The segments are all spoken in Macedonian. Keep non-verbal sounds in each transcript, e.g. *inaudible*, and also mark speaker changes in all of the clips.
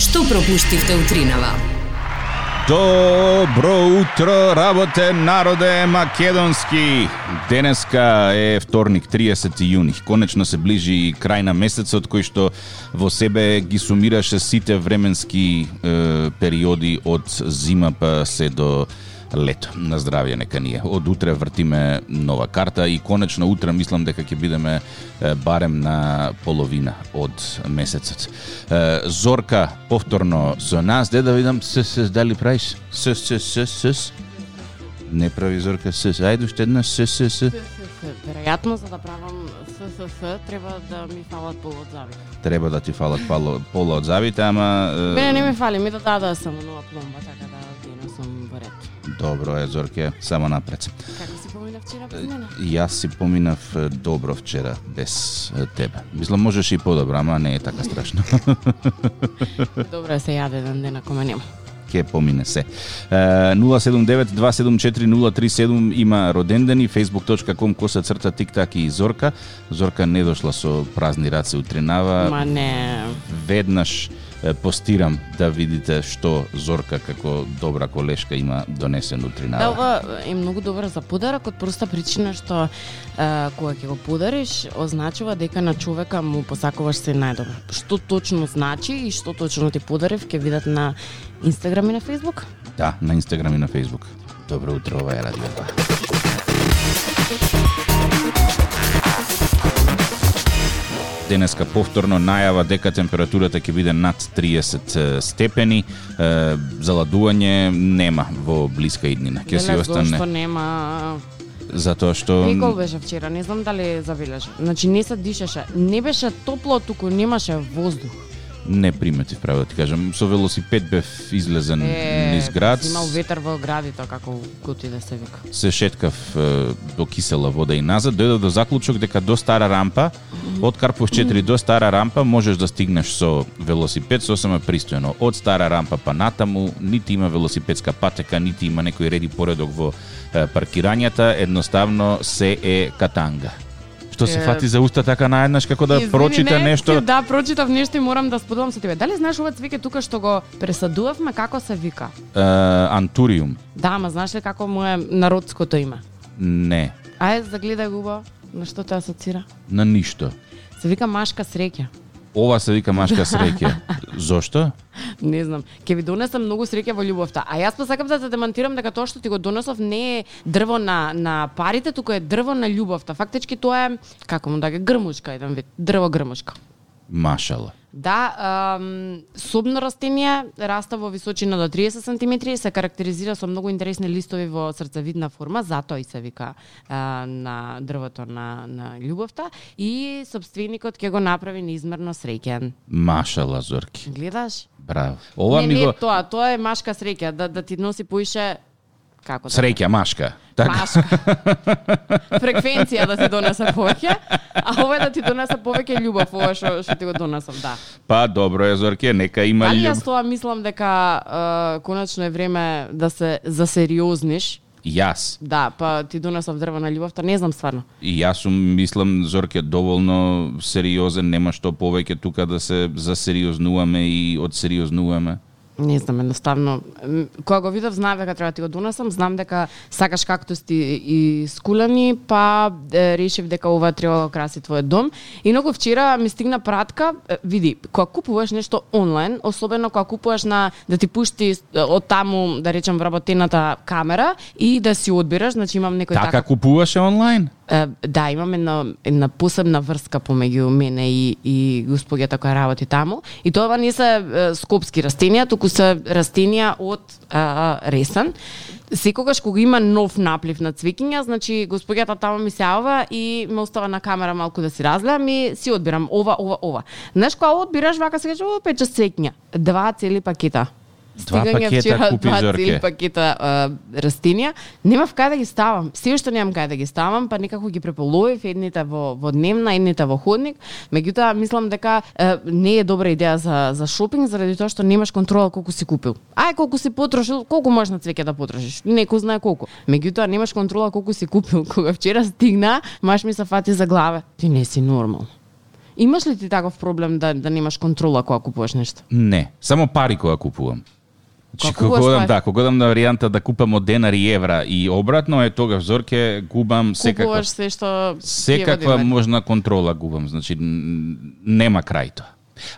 Speaker 1: што пропуштивте утринава.
Speaker 2: Добро утро, работе, народе македонски! Денеска е вторник, 30 јуни. Конечно се ближи и крај на месецот кој што во себе ги сумираше сите временски е, периоди од зима па се до лето. На здравје нека ние. Од утре вртиме нова карта и конечно утре мислам дека ќе бидеме е, барем на половина од месецот. Е, Зорка повторно со нас. Де да видам се се дали правиш? Се се се се. Не прави Зорка се. Ајде уште еднаш се се се.
Speaker 3: ССС. Веројатно за да правам ССС треба да ми фалат полот завита.
Speaker 2: Треба да ти фалат пало, пола од завите, ама е,
Speaker 3: Мене не ми фали, ми додадоа само нова пломба, така да ги носам во ред.
Speaker 2: добро е Зорке, само напред.
Speaker 3: Како си помина вчера без мене?
Speaker 2: Јас си поминав е, добро вчера без е, тебе. Мислам можеше и подобро, ама не е така страшно.
Speaker 3: *laughs* Добро е, се јаде еден ден ако ме нема.
Speaker 2: ќе помине се. Е, 079-274-037 има родендени, facebook.com коса црта тиктак и Зорка. Зорка не дошла со празни раце утринава.
Speaker 3: Ма не,
Speaker 2: Веднаш е, постирам да видите што Зорка како добра колешка има донесен
Speaker 3: Да,
Speaker 2: утринава.
Speaker 3: ова е многу добро за подарок од проста причина што е, кога ќе го подариш, означува дека на човека му посакуваш се најдобро. Што точно значи и што точно ти подарив ќе видат на Инстаграм и на Фејсбук.
Speaker 2: Да, на Инстаграм и на Facebook. Добро утро, ова е Радио 2. Денеска повторно најава дека температурата ќе биде над 30 степени. Е, заладување нема во блиска иднина. Ќе си
Speaker 3: Веле,
Speaker 2: остане
Speaker 3: Зошто нема
Speaker 2: затоа што
Speaker 3: Пекол беше вчера, не знам дали забележа. Значи не се дишеше, не беше топло, туку немаше воздух.
Speaker 2: не приметив право да ти кажам. Со велосипед бев излезен
Speaker 3: Е,
Speaker 2: низ град.
Speaker 3: Имал ветер во градите, како гути да се вика.
Speaker 2: се шеткав е, до кисела вода и назад, дојдов до заклучок дека до стара рампа, од Карпов 4 до стара рампа можеш да стигнеш со велосипед сосема пристојано. Од стара рампа па натаму нити има велосипедска патека, нити има некој ред и поредок во е, паркирањата, едноставно се е катанга. Што се
Speaker 3: Е,
Speaker 2: фати за уста така наеднаш како да
Speaker 3: Извини,
Speaker 2: прочита
Speaker 3: не,
Speaker 2: нешто
Speaker 3: Да, прочитав нешто и морам да споделам со тебе. Дали знаеш ова цвеќе тука што го пресадувавме како се вика?
Speaker 2: е, антуриум.
Speaker 3: Да, ама знаеш ли како му е народското име?
Speaker 2: Не,
Speaker 3: Ајде загледај го убаво, на што те асоцира?
Speaker 2: на ништо.
Speaker 3: Се вика машка среќа.
Speaker 2: Ова се вика машка
Speaker 3: *laughs*
Speaker 2: среќа. Зошто?
Speaker 3: Не знам. Ке ви донесам многу среќа во љубовта. А јас посакам да те демантирам дека тоа што ти го донесов не е дрво на на парите, туку е дрво на љубовта. Фактички тоа е како му да ге грмушка еден вид, дрво грмушка.
Speaker 2: Машала.
Speaker 3: Да, ам, собно растение раста во височина до 30 см и се карактеризира со многу интересни листови во срцевидна форма, затоа и се вика а, на дрвото на, на љубовта и собственикот ќе го направи неизмерно среќен.
Speaker 2: Машала, Зорки.
Speaker 3: Гледаш?
Speaker 2: Браво. Ова
Speaker 3: не,
Speaker 2: ми
Speaker 3: не
Speaker 2: го
Speaker 3: тоа, тоа е машка среќа, да, да ти носи поише како да
Speaker 2: среќа машка. Така.
Speaker 3: Машка. *laughs* Фреквенција да ти донесе повеќе, а ова е да ти донесе повеќе љубов, ова што што ти го донесам, да.
Speaker 2: Па добро е Зорке, нека има
Speaker 3: Дали
Speaker 2: љуб.
Speaker 3: јас тоа мислам дека е, конечно е време да се засериозниш?
Speaker 2: Јас
Speaker 3: Да, па ти донесов дрво на љубовта, не знам стварно.
Speaker 2: и јас сум мислам Зорке доволно сериозен, нема што повеќе тука да се засериознуваме и одсериознуваме.
Speaker 3: Не знам, едноставно, м, кога го видов, знам дека треба да ти го донесам, знам дека сакаш кактусти и скулани, па е, решив дека ова треба да го краси твојот дом. Инаку вчера ми стигна пратка, е, види, кога купуваш нешто онлайн, особено кога купуваш на да ти пушти е, од таму, да речем, вработената камера и да си одбираш, значи имам некој
Speaker 2: Така купуваше онлайн?
Speaker 3: Е, да, имам една, една посебна врска помеѓу мене и, и господјата која работи таму. И тоа не се е, скопски растенија, туку се растенија од а, ресен. Секогаш кога има нов наплив на цвикиња, значи господјата таму ми се јава и ме остава на камера малку да си разгледам и си одбирам ова, ова, ова. Знаеш кога одбираш вака се кажа, о, пече цвикиња. Два цели пакета.
Speaker 2: Два
Speaker 3: Стигање
Speaker 2: пакета
Speaker 3: вчера,
Speaker 2: купи
Speaker 3: два
Speaker 2: Зорке.
Speaker 3: цели пакета а, растенија. Немав кај да ги ставам. Се уште немам кај да ги ставам, па некако ги преполовив едните во во дневна, едните во ходник. Меѓутоа мислам дека е, не е добра идеја за за шопинг заради тоа што немаш контрола колку си купил. Ај колку си потрошил, колку можеш на цвеќе да потрошиш. Некој знае колку. Меѓутоа немаш *laughs* контрола колку си купил. Кога вчера стигна, маш ми се фати за глава. Ти не си нормал. Имаш ли ти таков проблем да, да немаш контрола кога купуваш нешто?
Speaker 2: Не, само пари кога купувам. Значи,
Speaker 3: Кога
Speaker 2: кога одам,
Speaker 3: купуваш
Speaker 2: да, кога одам на варијанта да купам од денар и евра и обратно, е тогаш зорке губам секаква
Speaker 3: Купуваш се што ти е во
Speaker 2: Секаква
Speaker 3: дилер.
Speaker 2: можна контрола губам, значи н- нема крај тоа.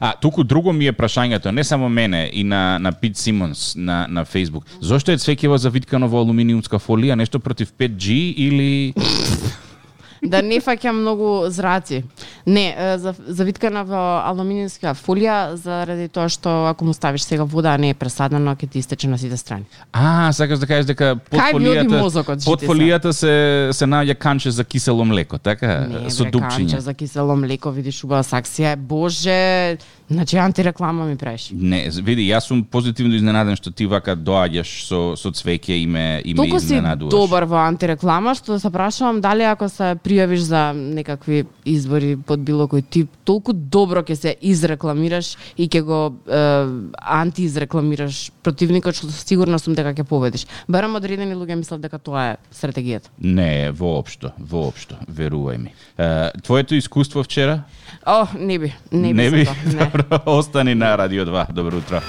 Speaker 2: А, туку друго ми е прашањето, не само мене, и на, на Пит Симонс на, на Facebook. Зошто е цвекева завиткано во алуминиумска фолија? Нешто против 5G или...
Speaker 3: да не фаќа многу зраци. Не, е, за завиткана во алуминиумска фолија заради тоа што ако му ставиш сега вода а не е пресадено, ќе ти истече на сите страни.
Speaker 2: А, сакаш да кажеш дека под
Speaker 3: Кај ви оди
Speaker 2: фолијата,
Speaker 3: мозокот,
Speaker 2: под
Speaker 3: жите
Speaker 2: фолијата се, се наоѓа канче за кисело млеко, така?
Speaker 3: Не,
Speaker 2: Со
Speaker 3: бре,
Speaker 2: дупчиња.
Speaker 3: канче за кисело млеко, видиш убава саксија, е, боже, значи антиреклама ми правиш.
Speaker 2: Не, види, јас сум позитивно изненаден што ти вака доаѓаш со, со цвеќе и ме, и ме
Speaker 3: Толку си
Speaker 2: изненадуваш.
Speaker 3: добар во антиреклама што се прашувам дали ако се пријавиш за некакви избори под било кој тип, толку добро ќе се изрекламираш и ќе го е, антиизрекламираш противникот што сигурно сум дека ќе победиш. Барам одредени луѓе мислат дека тоа е стратегијата.
Speaker 2: Не, воопшто, воопшто, верувај ми. Е, твоето искуство вчера?
Speaker 3: О, не би, не би, не би. Тоа, не.
Speaker 2: *laughs* Добро, остани на Радио 2. Добро утро.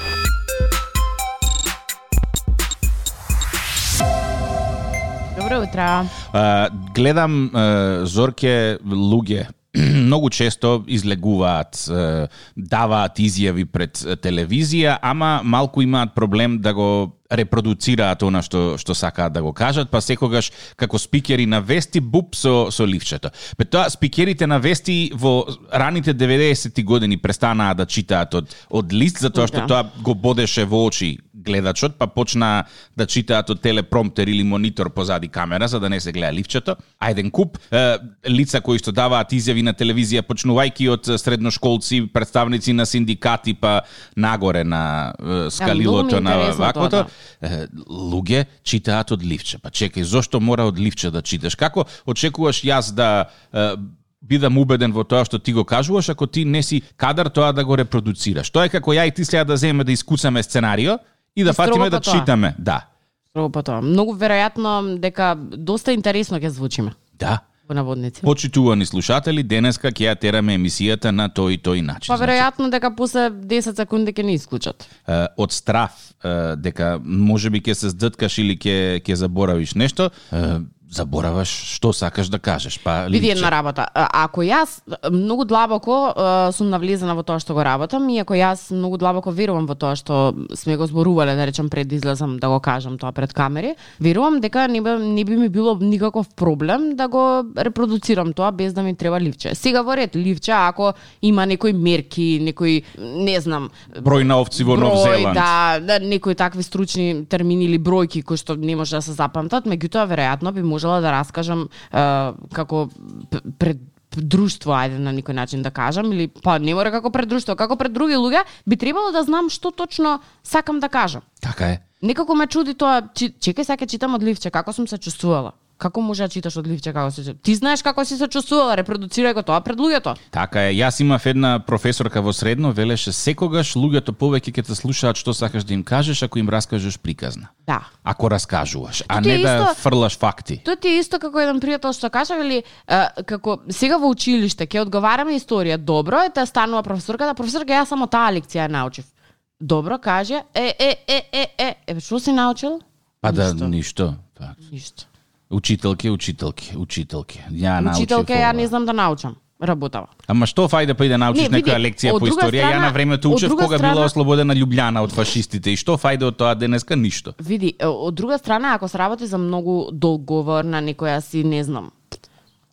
Speaker 3: Добро утро.
Speaker 2: А, гледам е, зорке луѓе *clears throat* многу често излегуваат, е, даваат изјави пред телевизија, ама малку имаат проблем да го репродуцираат она што што сакаат да го кажат, па секогаш како спикери на вести буп со со ливчето. Пе тоа спикерите на вести во раните 90-ти години престанаа да читаат од од лист затоа што
Speaker 3: Да.
Speaker 2: тоа го бодеше во очи гледачот, па почна да читаат од телепромтер или монитор позади камера, за да не се гледа ливчето. А еден куп, е, лица кои што даваат изјави на телевизија, почнувајќи од е, средношколци, представници на синдикати, па нагоре на е, скалилото
Speaker 3: Да, ми е
Speaker 2: на
Speaker 3: интересно
Speaker 2: ваквото.
Speaker 3: тоа, да.
Speaker 2: Е, луѓе читаат од ливче. Па чекај, зошто мора од ливче да читаш? Како очекуваш јас да е, бидам убеден во тоа што ти го кажуваш, ако ти не си кадар тоа да го репродуцираш. Тоа е како ја и ти сега да земеме да искусаме сценарио и да
Speaker 3: И строго
Speaker 2: фатиме да
Speaker 3: по тоа.
Speaker 2: читаме. Да.
Speaker 3: Прво па тоа. Многу веројатно дека доста интересно ќе звучиме
Speaker 2: Да.
Speaker 3: во наводници.
Speaker 2: Почитувани слушатели, денеска ќе ја тераме емисијата на тој и тој начин.
Speaker 3: Па веројатно дека после 10 секунди ќе не исклучат.
Speaker 2: Значи, Е, од страв е, дека може би ќе се здрткаш или ќе ќе заборавиш нешто, е, забораваш што сакаш да кажеш. Па
Speaker 3: Види
Speaker 2: ливче.
Speaker 3: една работа. А- Ако јас а, многу длабоко а, сум навлезена во тоа што го работам и ако јас многу длабоко верувам во тоа што сме го зборувале, да речам пред да излезам да го кажам тоа пред камери, верувам дека не би, не би ми било никаков проблем да го репродуцирам тоа без да ми треба ливче. Сега во ред ливче, ако има некои мерки, некои не знам,
Speaker 2: број на овци во Нов Зеланд.
Speaker 3: да, да, некои такви стручни термини или бројки кои што не може да се запамтат, меѓутоа веројатно би можела да раскажам е, како п- пред друштво, ајде на некој начин да кажам, или па не мора како пред друштво, како пред други луѓе, би требало да знам што точно сакам да кажам.
Speaker 2: Така е.
Speaker 3: Некако ме чуди тоа, чи- чекај сега ќе читам од ливче, како сум се чувствувала? Како може да читаш од ливче како се чу- Ти знаеш како си се чувствувала, репродуцирај го тоа пред луѓето.
Speaker 2: Така е. Јас имав една професорка во средно, велеше секогаш луѓето повеќе ќе те слушаат што сакаш да им кажеш ако им раскажеш приказна.
Speaker 3: Да.
Speaker 2: Ако раскажуваш, а
Speaker 3: Тоа е
Speaker 2: не да
Speaker 3: исто-
Speaker 2: фрлаш факти.
Speaker 3: Тоа ти е исто како еден пријател што кажа, вели, е, како сега во училиште ќе одговараме историја, добро, е таа станува професорката, професорка ја само таа лекција ја научив. Добро, каже, е, е, е, е, е, е, што си научил?
Speaker 2: Па да,
Speaker 3: Ништо.
Speaker 2: ништо. Па,
Speaker 3: Ништо.
Speaker 2: Учителки, учителки, учителки. Ја научив
Speaker 3: Учителка ја
Speaker 2: ова.
Speaker 3: не знам да научам, работава.
Speaker 2: Ама што фајда па и да научиш
Speaker 3: Не,
Speaker 2: некоја
Speaker 3: види,
Speaker 2: лекција
Speaker 3: од
Speaker 2: по
Speaker 3: друга
Speaker 2: историја? Ја
Speaker 3: страна-
Speaker 2: на времето
Speaker 3: од
Speaker 2: учев
Speaker 3: друга
Speaker 2: кога
Speaker 3: страна-
Speaker 2: била ослободена Љубљана од фашистите и што фајда од тоа денеска ништо.
Speaker 3: Види, е, од друга страна, ако се работи за многу договор на некоја си, не знам,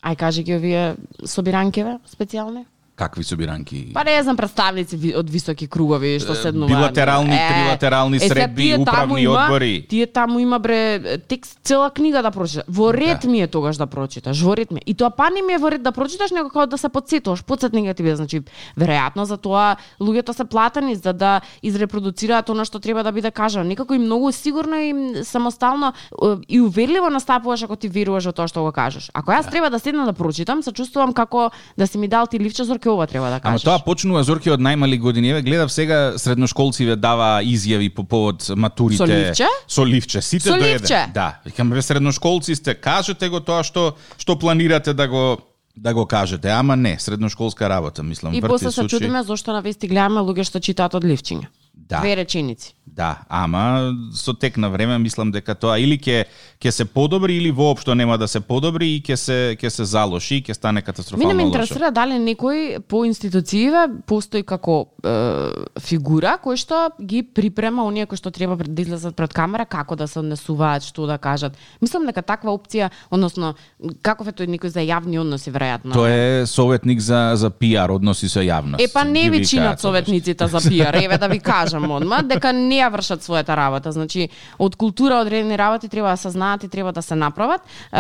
Speaker 3: ај кажи ги овие собиранкеве специјални?
Speaker 2: Какви собиранки?
Speaker 3: Па не знам представници ви- од високи кругови што седнуваат.
Speaker 2: билатерални, трилатерални
Speaker 3: сега
Speaker 2: средби,
Speaker 3: тие таму
Speaker 2: управни
Speaker 3: има-
Speaker 2: одбори.
Speaker 3: Тие таму има бре текст цела книга да прочиташ. Во ред
Speaker 2: Да.
Speaker 3: ми е тогаш да прочиташ, во ред ми. е. И тоа па не ми е во ред да прочиташ, него како да се подсетуваш, подсетнега ти бе, значи веројатно за тоа луѓето се платени за да изрепродуцираат она што треба да биде кажано. Некако и многу сигурно и самостално е, и уверливо настапуваш ако ти веруваш во тоа што го кажеш. Ако јас треба да седнам да прочитам, се чувствувам како да си ми дал ти ливче зорке ова треба да
Speaker 2: Ама
Speaker 3: кажеш.
Speaker 2: тоа почнува зорки од најмали години. Еве гледав сега средношколци ве дава изјави по повод матурите.
Speaker 3: Со ливче?
Speaker 2: Со ливче, сите
Speaker 3: Со
Speaker 2: до еден.
Speaker 3: ливче?
Speaker 2: Да. Викам ве средношколци сте, кажете го тоа што што планирате да го да го кажете, ама не, средношколска работа, мислам,
Speaker 3: И
Speaker 2: врти
Speaker 3: после се
Speaker 2: случај.
Speaker 3: чудиме зошто на вести гледаме луѓе што читаат од ливчиња.
Speaker 2: Да.
Speaker 3: Две реченици.
Speaker 2: Да, ама со тек на време мислам дека тоа или ќе ќе се подобри или воопшто нема да се подобри и ќе се ќе се залоши и ќе стане
Speaker 3: Мене ме
Speaker 2: катастрофално Па лошо.
Speaker 3: интересира дали некој по институциите постои како е, фигура кој што ги припрема оние кои што треба пред- да излезат пред камера како да се однесуваат, што да кажат. Мислам дека таква опција, односно каков е тој некој за јавни односи веројатно.
Speaker 2: Тоа е советник за за пиар односи со јавност.
Speaker 3: Е па не
Speaker 2: Ги
Speaker 3: ви
Speaker 2: викаат
Speaker 3: чинат
Speaker 2: секогаш.
Speaker 3: советниците за пиар, еве да ви кажам одма, дека не ја вршат својата работа. Значи, од култура одредени работи треба да се знаат и треба да се направат. Е,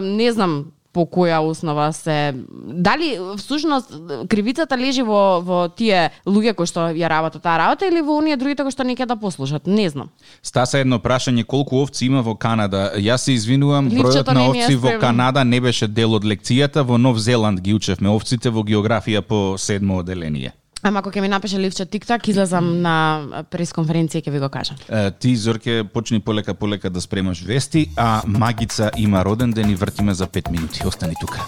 Speaker 3: не знам по која основа се дали всушност кривицата лежи во во тие луѓе кои што ја работат таа работа или во оние другите кои што не ќе да послушат, не знам.
Speaker 2: Стаса едно прашање колку овци има во Канада. Јас се извинувам,
Speaker 3: Липчето
Speaker 2: бројот на
Speaker 3: не ми е
Speaker 2: овци во
Speaker 3: спремно.
Speaker 2: Канада не беше дел од лекцијата. Во Нов Зеланд ги учевме овците во географија по седмо оделение.
Speaker 3: Ама ако ќе ми напише Ливче тиктак, излезам на пресконференција и ќе ви го кажам.
Speaker 2: Е, Ти, Зорке, почни полека полека да спремаш вести, а Магица има роден ден и вртиме за 5 минути. Остани тука.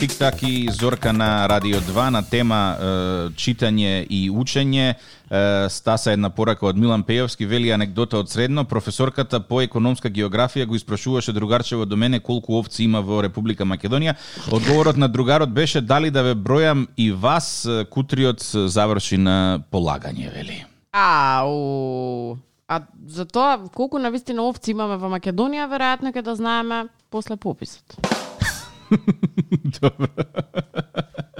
Speaker 2: Тик-так и Зорка на Радио 2 на тема е, читање и учење. Е, стаса една порака од Милан Пејовски, вели анекдота од средно. Професорката по економска географија го испрашуваше другарчево до мене колку овци има во Република Македонија. Одговорот на другарот беше дали да ве бројам и вас, е, кутриот е, заврши на полагање, вели.
Speaker 3: Ау. А за тоа колку на вистина овци имаме во Македонија, веројатно ќе да знаеме после пописот.
Speaker 2: Добро.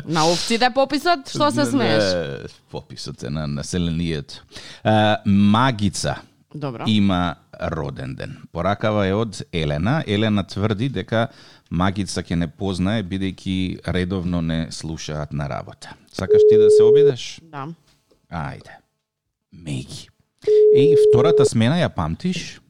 Speaker 3: На овците пописот, што се смееш?
Speaker 2: Е, Пописот е на населението. Е, Магица.
Speaker 3: Добро.
Speaker 2: има роден ден. Поракава е од Елена. Елена тврди дека магица ќе не познае бидејќи редовно не слушаат на работа. Сакаш ти да се обидеш?
Speaker 3: Да.
Speaker 2: Ајде. Меги. Еј, втората смена ја памтиш?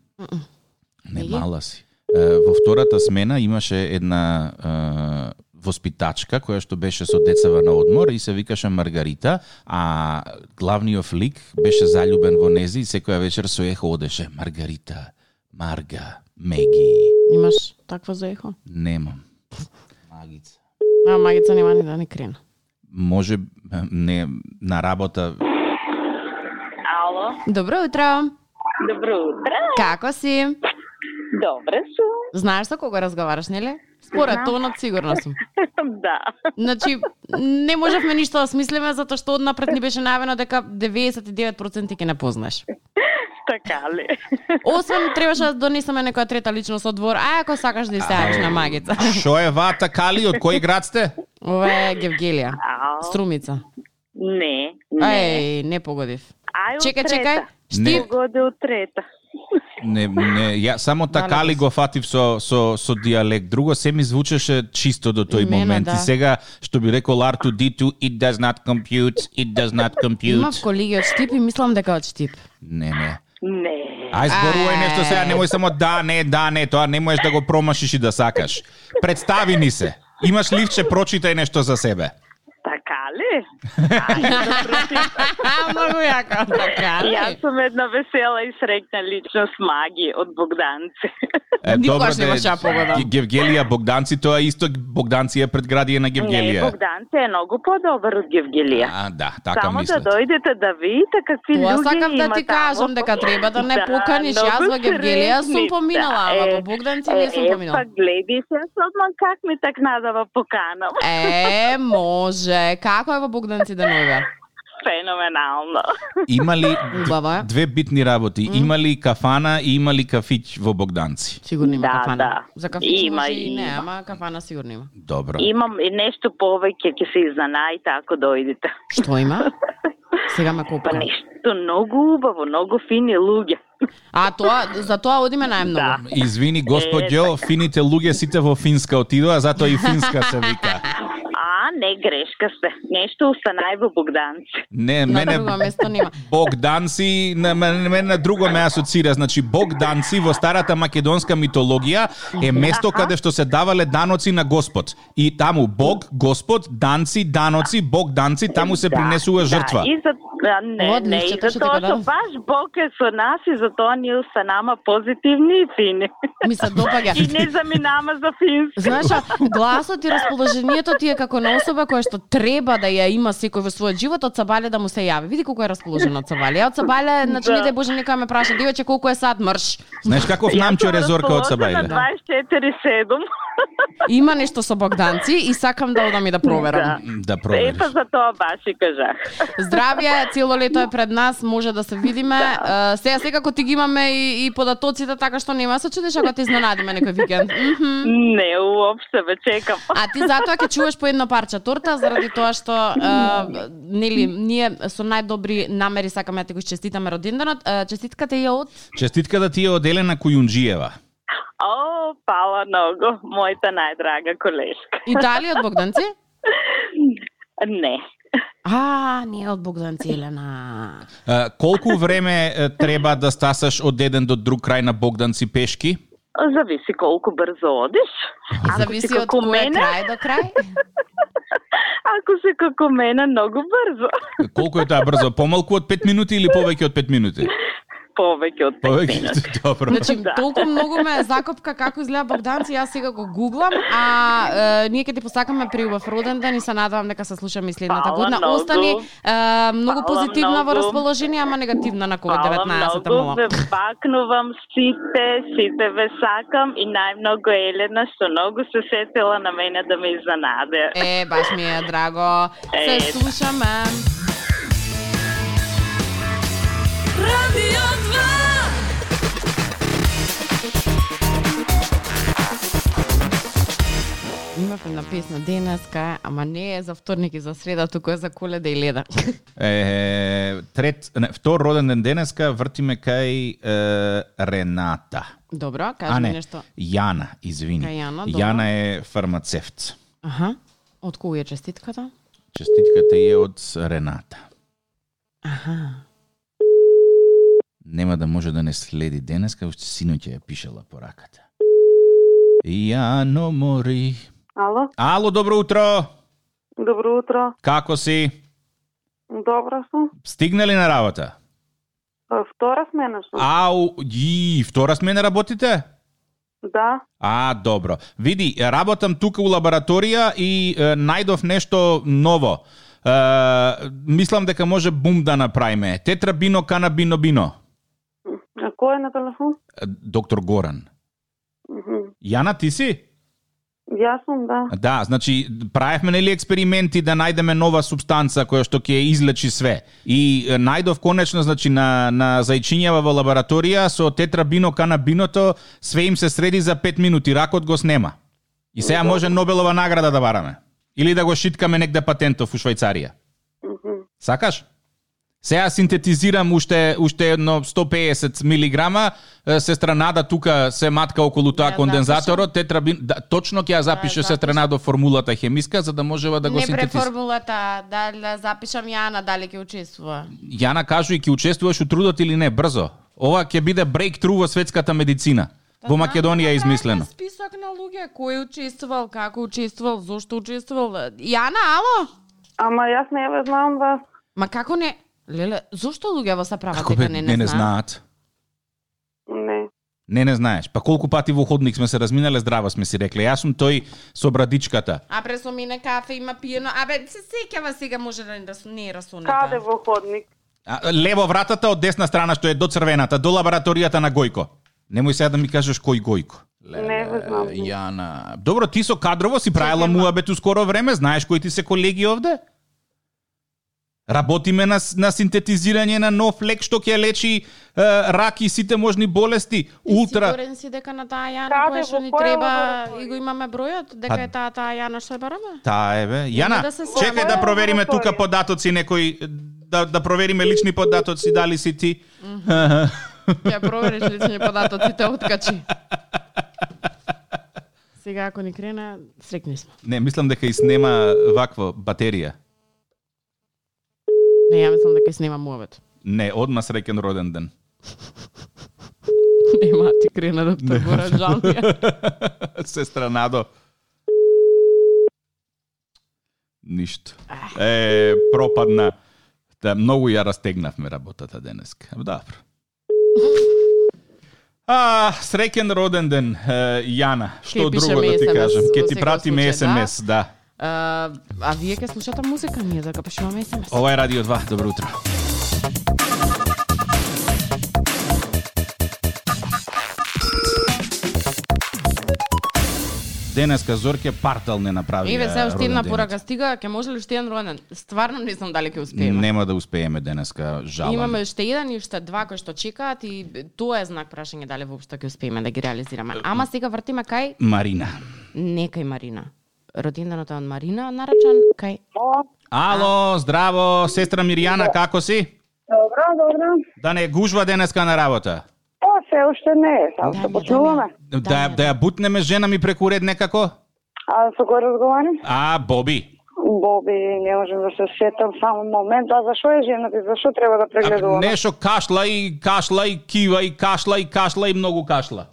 Speaker 2: Не мала си. Е, Во втората смена имаше една е, воспитачка која што беше со децава на одмор и се викаше Маргарита, а главниот лик беше заљубен во нези и секоја вечер со ехо одеше Маргарита, Марга, Меги.
Speaker 3: Имаш таква за ехо?
Speaker 2: Немам. Магица.
Speaker 3: А магица нема ни да не крена.
Speaker 2: Може е, не на работа
Speaker 1: Ало,
Speaker 3: Добро утро.
Speaker 1: добро утро.
Speaker 3: Како си?
Speaker 1: Добре сум.
Speaker 3: Знаеш со кого разговараш, нели? Според
Speaker 1: Знам.
Speaker 3: тонот сигурно сум.
Speaker 1: да. *laughs*
Speaker 3: Значи, не можевме ништо да смислиме затоа што однапред ни беше најавено дека 99% ќе не познаеш.
Speaker 1: Така ли?
Speaker 3: Освен требаше да донесеме некоја трета личност од двор, а ако сакаш да истаеш на магица.
Speaker 2: Шо е вата Кали, од кој град сте?
Speaker 3: Ова е Гевгелија.
Speaker 1: Ау.
Speaker 3: Струмица.
Speaker 1: Не, не.
Speaker 3: Ај, не погодив.
Speaker 1: Ај, од
Speaker 3: Чекај,
Speaker 1: трета.
Speaker 3: чекај.
Speaker 2: Не.
Speaker 3: Шти?
Speaker 1: Погоди од трета. *laughs*
Speaker 2: Не, не, ја само
Speaker 3: Да,
Speaker 2: така ли го фатив со со со диалект. Друго се ми звучеше чисто до тој
Speaker 3: И мене,
Speaker 2: момент.
Speaker 3: да.
Speaker 2: И сега што би рекол R2D2, it does not compute, it does not
Speaker 3: Имав
Speaker 2: compute.
Speaker 3: колеги од Штип и мислам дека од
Speaker 1: *laughs*
Speaker 3: Штип.
Speaker 2: Не, не.
Speaker 1: Не.
Speaker 2: Ај зборувај
Speaker 3: Ај.
Speaker 2: нешто сега, немој само да, не, да, не, тоа не можеш да го промашиш и да сакаш. Представи ни се. Имаш ливче, прочитај нешто за себе.
Speaker 1: Така ли?
Speaker 3: *laughs* А, многу јако. Така,
Speaker 1: Јас сум една весела и среќна личност маги од Богданци.
Speaker 3: Никогаш
Speaker 2: добро да е-
Speaker 3: немаше да погодам.
Speaker 2: Ге- Гевгелија Богданци, тоа е исто Богданци е предградие на
Speaker 1: не,
Speaker 2: Гевгелија.
Speaker 1: Богданци е многу подобар од Гевгелија.
Speaker 2: А, да, така
Speaker 1: Само
Speaker 2: мислат.
Speaker 1: да дојдете да видите какви
Speaker 3: Тоа
Speaker 1: луѓе
Speaker 3: сакам да
Speaker 1: има
Speaker 3: ти
Speaker 1: тамо.
Speaker 3: кажам дека треба да не поканиш. Јас
Speaker 1: многу
Speaker 3: во Гевгелија сум
Speaker 1: среќни
Speaker 3: поминала,
Speaker 1: сте.
Speaker 3: ама
Speaker 1: Е,
Speaker 3: во Богданци не
Speaker 1: е,
Speaker 3: сум
Speaker 1: е,
Speaker 3: поминала.
Speaker 1: Па гледи се, одма как ми так надава поканам.
Speaker 3: Е, да може. Како е во Богданци денове?
Speaker 1: Феноменално.
Speaker 2: Има ли д-
Speaker 3: Убава е.
Speaker 2: две битни работи? Има ли кафана и има ли кафич во Богданци?
Speaker 3: Сигурно има
Speaker 1: Да,
Speaker 3: кафана.
Speaker 1: да.
Speaker 3: За кафич
Speaker 1: Има,
Speaker 3: може и не,
Speaker 1: има.
Speaker 3: ама кафана сигурно има.
Speaker 2: Добро.
Speaker 1: Имам и нешто повеќе ќе се изнанајте ако дојдете.
Speaker 3: Што има?
Speaker 1: *laughs*
Speaker 3: Сега ме
Speaker 1: Па
Speaker 3: копка.
Speaker 1: нешто многу убаво, многу фини луѓе.
Speaker 3: А тоа, за тоа одиме
Speaker 1: Да.
Speaker 3: најмногу.
Speaker 2: Извини, господјо, фините луѓе сите во Финска отидоа, затоа и Финска се вика.
Speaker 1: А, не, грешка сте. Нешто останај во Богданци.
Speaker 2: Не,
Speaker 3: На
Speaker 2: мене
Speaker 3: друго место нема.
Speaker 2: Богданци, на мене мене на друго ме асоцира. Значи Богданци во старата македонска митологија е место
Speaker 1: Аха.
Speaker 2: каде што се давале даноци на Господ. И таму Бог, Господ, данци, даноци, Богданци, таму се принесува жртва.
Speaker 1: Да, и за, а, не,
Speaker 3: Одлично,
Speaker 1: не, и
Speaker 3: тоа
Speaker 1: за
Speaker 3: што ти
Speaker 1: тоа
Speaker 3: го
Speaker 1: што
Speaker 3: дадов.
Speaker 1: баш Бог е со нас и за тоа ние останаме позитивни и фини.
Speaker 3: Ми се допаѓа.
Speaker 1: и не заминаме за фински.
Speaker 3: Знаеш, а, гласот и расположението ти е како на особа која што треба да ја има секој во својот живот, од Сабале да му се јави. Види колку е расположен од Сабале. А од Сабале, значи,
Speaker 1: Да.
Speaker 3: не дај Боже, некоја ме праша, девојче, колку е сад, мрш.
Speaker 2: Знаеш
Speaker 1: Ja
Speaker 2: каков намчо резорка од Сабајле?
Speaker 1: 24-7.
Speaker 3: Има нешто со Богданци и сакам да одам и да проверам.
Speaker 2: Да
Speaker 1: Е,
Speaker 2: провериш.
Speaker 1: па за тоа баш и кажах.
Speaker 3: Здравје, цело лето е пред нас, може да се видиме. Е, Сега секако ти ги имаме и, и податоците, така што нема се чудиш ако те изненадиме некој викенд. Мгм.
Speaker 1: Не, уопште ве чекам.
Speaker 3: А ти затоа ќе чуеш по едно парче торта заради тоа што е, нели ние со најдобри намери сакаме да ти го честитаме роденденот. Е, Честитката е од
Speaker 2: Честитка да ти е од Елена Кујунџиева.
Speaker 1: О, пала много, мојата најдрага колешка.
Speaker 3: Италија од Богданци?
Speaker 1: Не.
Speaker 3: А, не е од Богданци Елена.
Speaker 2: Е, Колку време е, треба да стасаш од еден до друг крај на Богданци пешки?
Speaker 1: Зависи колку брзо одиш. Ако си
Speaker 3: Зависи од
Speaker 1: како
Speaker 3: кој
Speaker 1: мене,
Speaker 3: крај до крај.
Speaker 1: *laughs* Ако си како мене, многу брзо.
Speaker 2: Колку е тоа брзо? Помалку од 5 минути или повеќе од 5 минути?
Speaker 1: *laughs* Повеќе од 5 минути.
Speaker 2: Повеќе, добро.
Speaker 3: Значи,
Speaker 1: *laughs* Да.
Speaker 3: толку многу ме закопка како изгледа Богданци, јас сега го гуглам, а е, ние ќе ти посакаме приубав роден ден и се надевам дека се слушаме и следната
Speaker 1: Фала
Speaker 3: година.
Speaker 1: многу.
Speaker 3: Остани е, многу
Speaker 1: Фала
Speaker 3: позитивна во
Speaker 1: многу.
Speaker 3: расположение, ама негативна на
Speaker 1: Фала
Speaker 3: COVID-19
Speaker 1: многу,
Speaker 3: мола.
Speaker 1: ве бакнувам сите, сите ве сакам и најмногу Елена што многу се сетила на мене да ме изнанаде.
Speaker 3: E, baš mi je drago.
Speaker 1: E.
Speaker 3: Se slušame.
Speaker 4: Radio 2.
Speaker 3: Имав една песна денеска, ама не е за вторник и за среда, туку е за Коледа и Леда. *laughs*
Speaker 2: Е, трет, не, втор роден ден денеска вртиме кај е, Рената.
Speaker 3: Добро,
Speaker 2: а
Speaker 3: кажи ми
Speaker 2: не,
Speaker 3: нешто.
Speaker 2: Јана, извини.
Speaker 3: Кај Јана, добро.
Speaker 2: Јана е фармацевт.
Speaker 3: Аха. Од кој е честитката?
Speaker 2: Честитката е од Рената.
Speaker 3: Аха.
Speaker 2: Нема да може да не следи денеска, уште синоќа ја пишела пораката. Јано мори.
Speaker 5: Ало,
Speaker 2: Ало, добро утро.
Speaker 5: добро утро.
Speaker 2: Како си?
Speaker 5: Добро сум.
Speaker 2: Стигна ли на работа?
Speaker 5: А, Втора смена сум.
Speaker 2: Ау, и втора смена работите?
Speaker 5: Да,
Speaker 2: А, добро. Види, работам тука у лабораторија и е, најдов нешто ново. Е, мислам дека може бум да направиме. Тетрабино, канабино, бино.
Speaker 5: а кој е на телефон?
Speaker 2: Е, Доктор Горан.
Speaker 5: Мгм.
Speaker 2: Јана, ти си?
Speaker 5: Јас сум, да.
Speaker 2: Да, значи правевме нели експерименти да најдеме нова субстанца која што ќе излечи све. И е, најдов конечно значи на на зајчињава во лабораторија со тетрабино канабиното све им се среди за 5 минути, ракот го снема. И сега може Нобелова награда да бараме или да го шиткаме негде патентов у Швајцарија.
Speaker 5: Мгм.
Speaker 2: Сакаш? Сега синтетизирам уште уште едно 150 милиграма, е, сестра Нада тука се матка околу тоа
Speaker 3: Ја
Speaker 2: кондензаторот, тетрабин, да, точно ќе ја запише
Speaker 3: Да, запишам.
Speaker 2: сестра Надо формулата хемиска за да можева да го
Speaker 3: не
Speaker 2: синтетизира.
Speaker 3: преформулата, да, да запишам Јана дали ќе учествува.
Speaker 2: Јана кажу и ќе учествуваш у трудот или не, брзо. Ова ќе биде breakthrough во светската медицина. Во
Speaker 3: да,
Speaker 2: Македонија е измислено.
Speaker 3: Список на луѓе кој учествувал, како учествувал, зошто учествувал. Јана, ало?
Speaker 5: Ама јас не ве знам вас.
Speaker 3: Ма како не? Леле, зошто луѓе во се прават
Speaker 2: Како
Speaker 3: дека
Speaker 2: бе,
Speaker 3: не,
Speaker 2: не не знаат?
Speaker 5: Не.
Speaker 2: Не не знаеш. Па колку пати во ходник сме се разминале, здраво сме си рекле. Јас сум тој со брадичката.
Speaker 3: А пресо мине кафе, има пиено. Абе, се сеќава сега може да не, рас- не е расунета.
Speaker 5: Каде во ходник?
Speaker 2: А, Лево вратата од десна страна што е до црвената, до лабораторијата на Гојко. Немој сега да ми кажеш кој Гојко.
Speaker 5: Не го знам.
Speaker 2: Јана. Добро, ти со кадрово си правила муабет у скоро време, знаеш кои ти се колеги овде? Работиме на, с- на синтетизирање на нов лек што ќе лечи е, рак и сите можни болести. Ултра.
Speaker 3: Сигурен си дека на таа Јана
Speaker 5: Каде,
Speaker 3: која што
Speaker 5: во
Speaker 3: ни
Speaker 5: која
Speaker 3: треба
Speaker 5: лабораторија?
Speaker 3: и го имаме бројот, дека
Speaker 2: Па-
Speaker 3: е таа таа Јана што ја бараме?
Speaker 2: Та е бе. Јана,
Speaker 3: да се сетам.
Speaker 2: чекај да провериме тука
Speaker 5: Лабораторија.
Speaker 2: податоци некои да, да провериме лични податоци дали си ти.
Speaker 3: Ќе ја провериш лични податоци те откачи. Сега ако ни крена, срекни сме.
Speaker 2: Не, мислам дека и снема вакво батерија.
Speaker 3: Не, ја мислам дека снема мовет.
Speaker 2: Не, одма среќен роден ден. *laughs*
Speaker 3: Нема ти крена да те бора, жал ми е.
Speaker 2: Сестра Надо. Ништо. Е, пропадна. Да, многу ја растегнавме работата денеска. Добро. А, среќен роден ден, е, Јана. Што
Speaker 3: Ќе
Speaker 2: друго
Speaker 3: пишеме
Speaker 2: да ти
Speaker 3: SMS
Speaker 2: кажам?
Speaker 3: во
Speaker 2: Ке ти
Speaker 3: секој
Speaker 2: пратиме
Speaker 3: случај, да.
Speaker 2: СМС, да.
Speaker 3: А, а вие ке слушате музика, ние да капешуваме СМС.
Speaker 2: Ова е Радио 2. Добро утро. Денеска Зорке партал не направи.
Speaker 3: Еве, сега уште една порака стига, ќе може ли уште еден роден? Стварно не знам дали ќе успееме.
Speaker 2: Нема да успееме денеска, жалам.
Speaker 3: Имаме уште еден и уште два кои што чекаат и тоа е знак прашање дали воопшто ќе успееме да ги реализираме. Ама сега вртиме кај
Speaker 2: Марина.
Speaker 3: некај Марина. Роденденот е од Марина наречен кај
Speaker 5: О,
Speaker 2: Ало, здраво, сестра Мирјана, како си?
Speaker 5: добро, добро.
Speaker 2: Да не гужва денеска на работа.
Speaker 5: Па, се уште не е, само
Speaker 3: Дамјан,
Speaker 5: се почнуваме.
Speaker 2: Да, да, ја- да ја бутнеме жена ми преку ред некако?
Speaker 5: А со кој разговарам?
Speaker 2: А, Боби.
Speaker 5: Боби, не можам да се сетам само момент. А зашо е жена ти? Зашо треба да
Speaker 2: А,
Speaker 5: прегледуваме?
Speaker 2: нешо кашла и кашла и кива и кашла и кашла и многу кашла.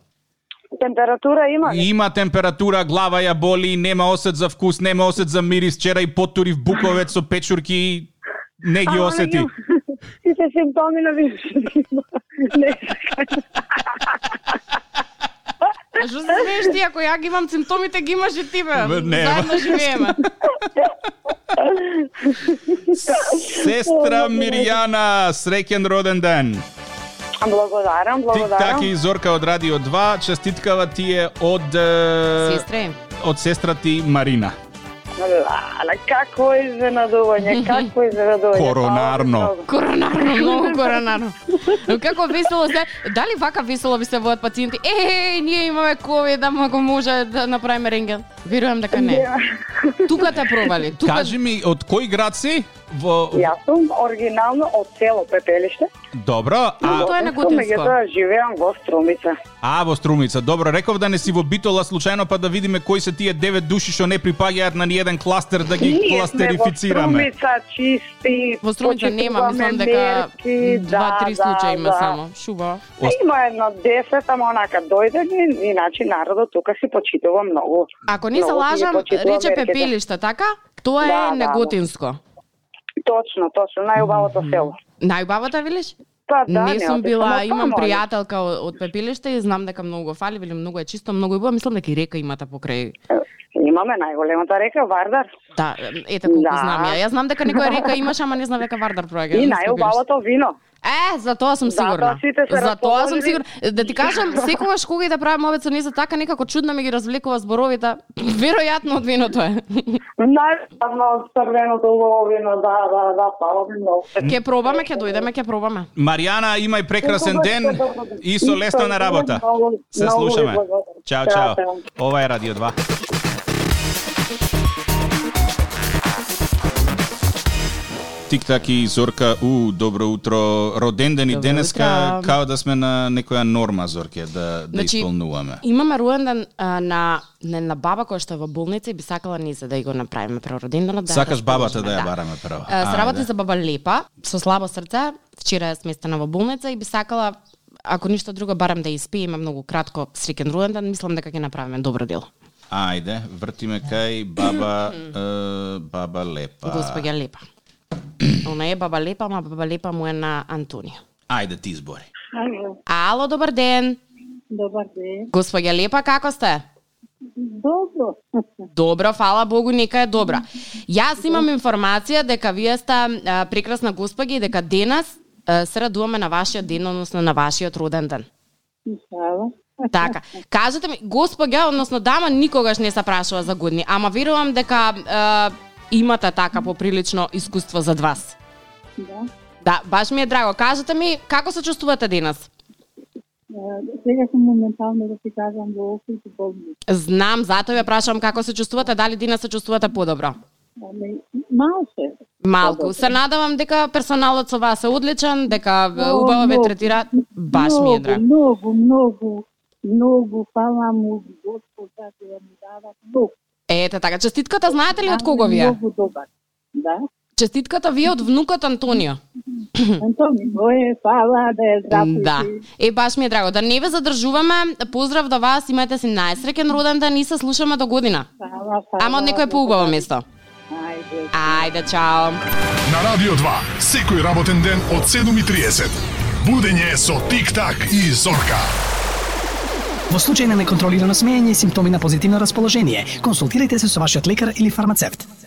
Speaker 5: Температура има ли?
Speaker 2: Има температура, глава ја боли, нема осет за вкус, нема осет за мирис, вчера и потури в буковец со печурки и не ги
Speaker 5: Ама, *laughs*
Speaker 2: осети.
Speaker 5: меѓу- Сите симптоми на вирусот има. *laughs* Не, така.
Speaker 3: А што се смееш ти ако ја ги имам симптомите, ги имаш и ти бе.
Speaker 2: Бе, не,
Speaker 3: Заедно
Speaker 2: бе.
Speaker 3: живееме.
Speaker 2: Сестра Мирјана, среќен роден ден.
Speaker 5: благодарам,
Speaker 2: Тик так
Speaker 5: благодарам.
Speaker 2: така и Зорка од Радио 2, честиткава ти е од е,
Speaker 3: Сестре,
Speaker 2: од сестра ти Марина.
Speaker 5: Лале, какво
Speaker 2: *laughs*
Speaker 5: изненадување, какво изненадување.
Speaker 2: Коронарно.
Speaker 5: Па, многу. *laughs*
Speaker 3: коронарно, многу коронарно. Но Како весело се, дали вака весело би се воат пациенти? Е, ние имаме ковид, ама ако може да направиме рентген. Верувам дека не. Тука те пробали, тука
Speaker 2: Кажи ми, од кој град си? Во...
Speaker 5: *laughs* Јас сум оригинално од село Пепелиште.
Speaker 2: Добро, а,
Speaker 3: Тоа е на
Speaker 5: Сум,
Speaker 3: Гутинско.
Speaker 5: Меѓутоа живеам во Струмица.
Speaker 2: а во Струмица. Добро, реков да не си во Битола случајно па да видиме кои се тие девет души што не припаѓаат на ниеден кластер да ги
Speaker 5: Ние сме во
Speaker 2: кластерифицираме.
Speaker 5: Струмица чисти.
Speaker 3: Во Струмица нема,
Speaker 5: почитуваме
Speaker 3: мислам дека
Speaker 5: мерки,
Speaker 3: два-три
Speaker 5: да,
Speaker 3: случаи
Speaker 5: да.
Speaker 3: има само. Шуба.
Speaker 5: Па Има едно 10, ама онака дојде ни, иначе народот тука си почитува многу.
Speaker 3: Ако не се
Speaker 5: Многу си ги
Speaker 3: лажам,
Speaker 5: почитува
Speaker 3: рече
Speaker 5: Да, мерките.
Speaker 3: пепелиште, така? Тоа
Speaker 5: Да,
Speaker 3: е
Speaker 5: да,
Speaker 3: неготинско.
Speaker 5: Точно, точно, најубавото село.
Speaker 3: Најубавата велиш?
Speaker 5: Па да,
Speaker 3: не сум
Speaker 5: отидам
Speaker 3: била,
Speaker 5: таму,
Speaker 3: имам
Speaker 5: али-
Speaker 3: пријателка од, од Пепелиште и знам дека многу го фали, велим многу е чисто, многу е убаво, мислам дека и река имате покрај.
Speaker 5: Имаме најголемата река Вардар
Speaker 3: Да, ете колку
Speaker 5: Да.
Speaker 3: знам ја. Ја знам дека некоја река имаш, ама не знам дека Вардар проаѓа. Не
Speaker 5: и
Speaker 3: се грижи.
Speaker 5: најубавото вино.
Speaker 3: Е, за тоа сум
Speaker 5: Да,
Speaker 3: сигурна.
Speaker 5: да, сите се
Speaker 3: за тоа сум
Speaker 5: расположени.
Speaker 3: сигурна. Да ти кажам, секогаш кога и да правам овец со низа така некако чудно ми ги развлекува зборовите. Веројатно од виното е.
Speaker 5: Најубавно црвеното убаво вино, да, да, да, фала ви многу.
Speaker 3: Ќе пробаме, ќе дојдеме, ќе пробаме.
Speaker 2: Маријана, имај прекрасен ден и со лесно на работа. Се слушаме. Чао, чао. Ова е Радио 2. Тик так и Зорка, у, добро утро. Роден ден и
Speaker 3: Добро
Speaker 2: денеска,
Speaker 3: утро.
Speaker 2: као да сме на некоја норма, Зорке, да, да
Speaker 3: Значи,
Speaker 2: исполнуваме.
Speaker 3: Имаме руенден а, на, на, на баба која што е во болница и би сакала ни за да и го направиме пророденденот. Да ја
Speaker 2: Сакаш бабата
Speaker 3: расположиме,
Speaker 2: да ја бараме прво.
Speaker 3: А,
Speaker 2: А,
Speaker 3: се работи
Speaker 2: да.
Speaker 3: за баба Лепа, со слабо срце, вчера е сместена во болница и би сакала ако ништо друго барам да ја испиеме многу кратко среќен руенден, мислам дека ќе направиме добро дело.
Speaker 2: Ајде, вртиме кај
Speaker 3: *laughs*
Speaker 2: баба, е, баба Лепа.
Speaker 3: Господја Лепа. Она е баба Лепа, ама баба Лепа му е на Антонио.
Speaker 2: Ајде ти избори.
Speaker 3: Ало, добар ден.
Speaker 5: Добар ден.
Speaker 3: Господја Лепа, како сте?
Speaker 5: Добро.
Speaker 3: Добро, фала Богу, нека е добра. Јас имам информација дека вие сте а, прекрасна господи и дека денес а, се радуваме на вашиот ден, односно на вашиот роден ден. Така. Кажете ми, господја, односно дама никогаш не се прашува за години, ама верувам дека а, имате така поприлично искуство зад вас.
Speaker 5: Да.
Speaker 3: Да, баш ми е драго. Кажете ми, како се чувствувате денес?
Speaker 5: Сега сум моментално да ти кажам во околу болница.
Speaker 3: Знам, затоа ве прашам како се чувствувате, дали денес се чувствувате подобро?
Speaker 5: Малце.
Speaker 3: Малку. Се надавам дека персоналот со вас е одличен, дека е, убаво ве
Speaker 5: Многу,
Speaker 3: третира. Баш ми е драго.
Speaker 5: Многу, многу, многу, фала му Господ да ти ја му да да, да. Бог,
Speaker 3: Ете така, честитката знаете ли од кого ви е?
Speaker 5: Многу добар. Да.
Speaker 3: Честитката ви е од внукот Антонио.
Speaker 5: Антони, моје, фала да е здрав. и
Speaker 3: Да.
Speaker 5: жив.
Speaker 3: Е, баш ми е драго. Да не ве задржуваме, поздрав до вас, имајте си најсреќен роден ден и се слушаме до година.
Speaker 5: Фала, фала.
Speaker 3: Ама од некој поубаво место.
Speaker 5: Ајде.
Speaker 3: Ајде, чао.
Speaker 6: На Радио 2, секој работен ден од 7.30. Будење со Тик-так и Зорка.
Speaker 7: Во случај на неконтролирано смеење и симптоми на позитивно расположение, консултирајте се со вашиот лекар или фармацевт.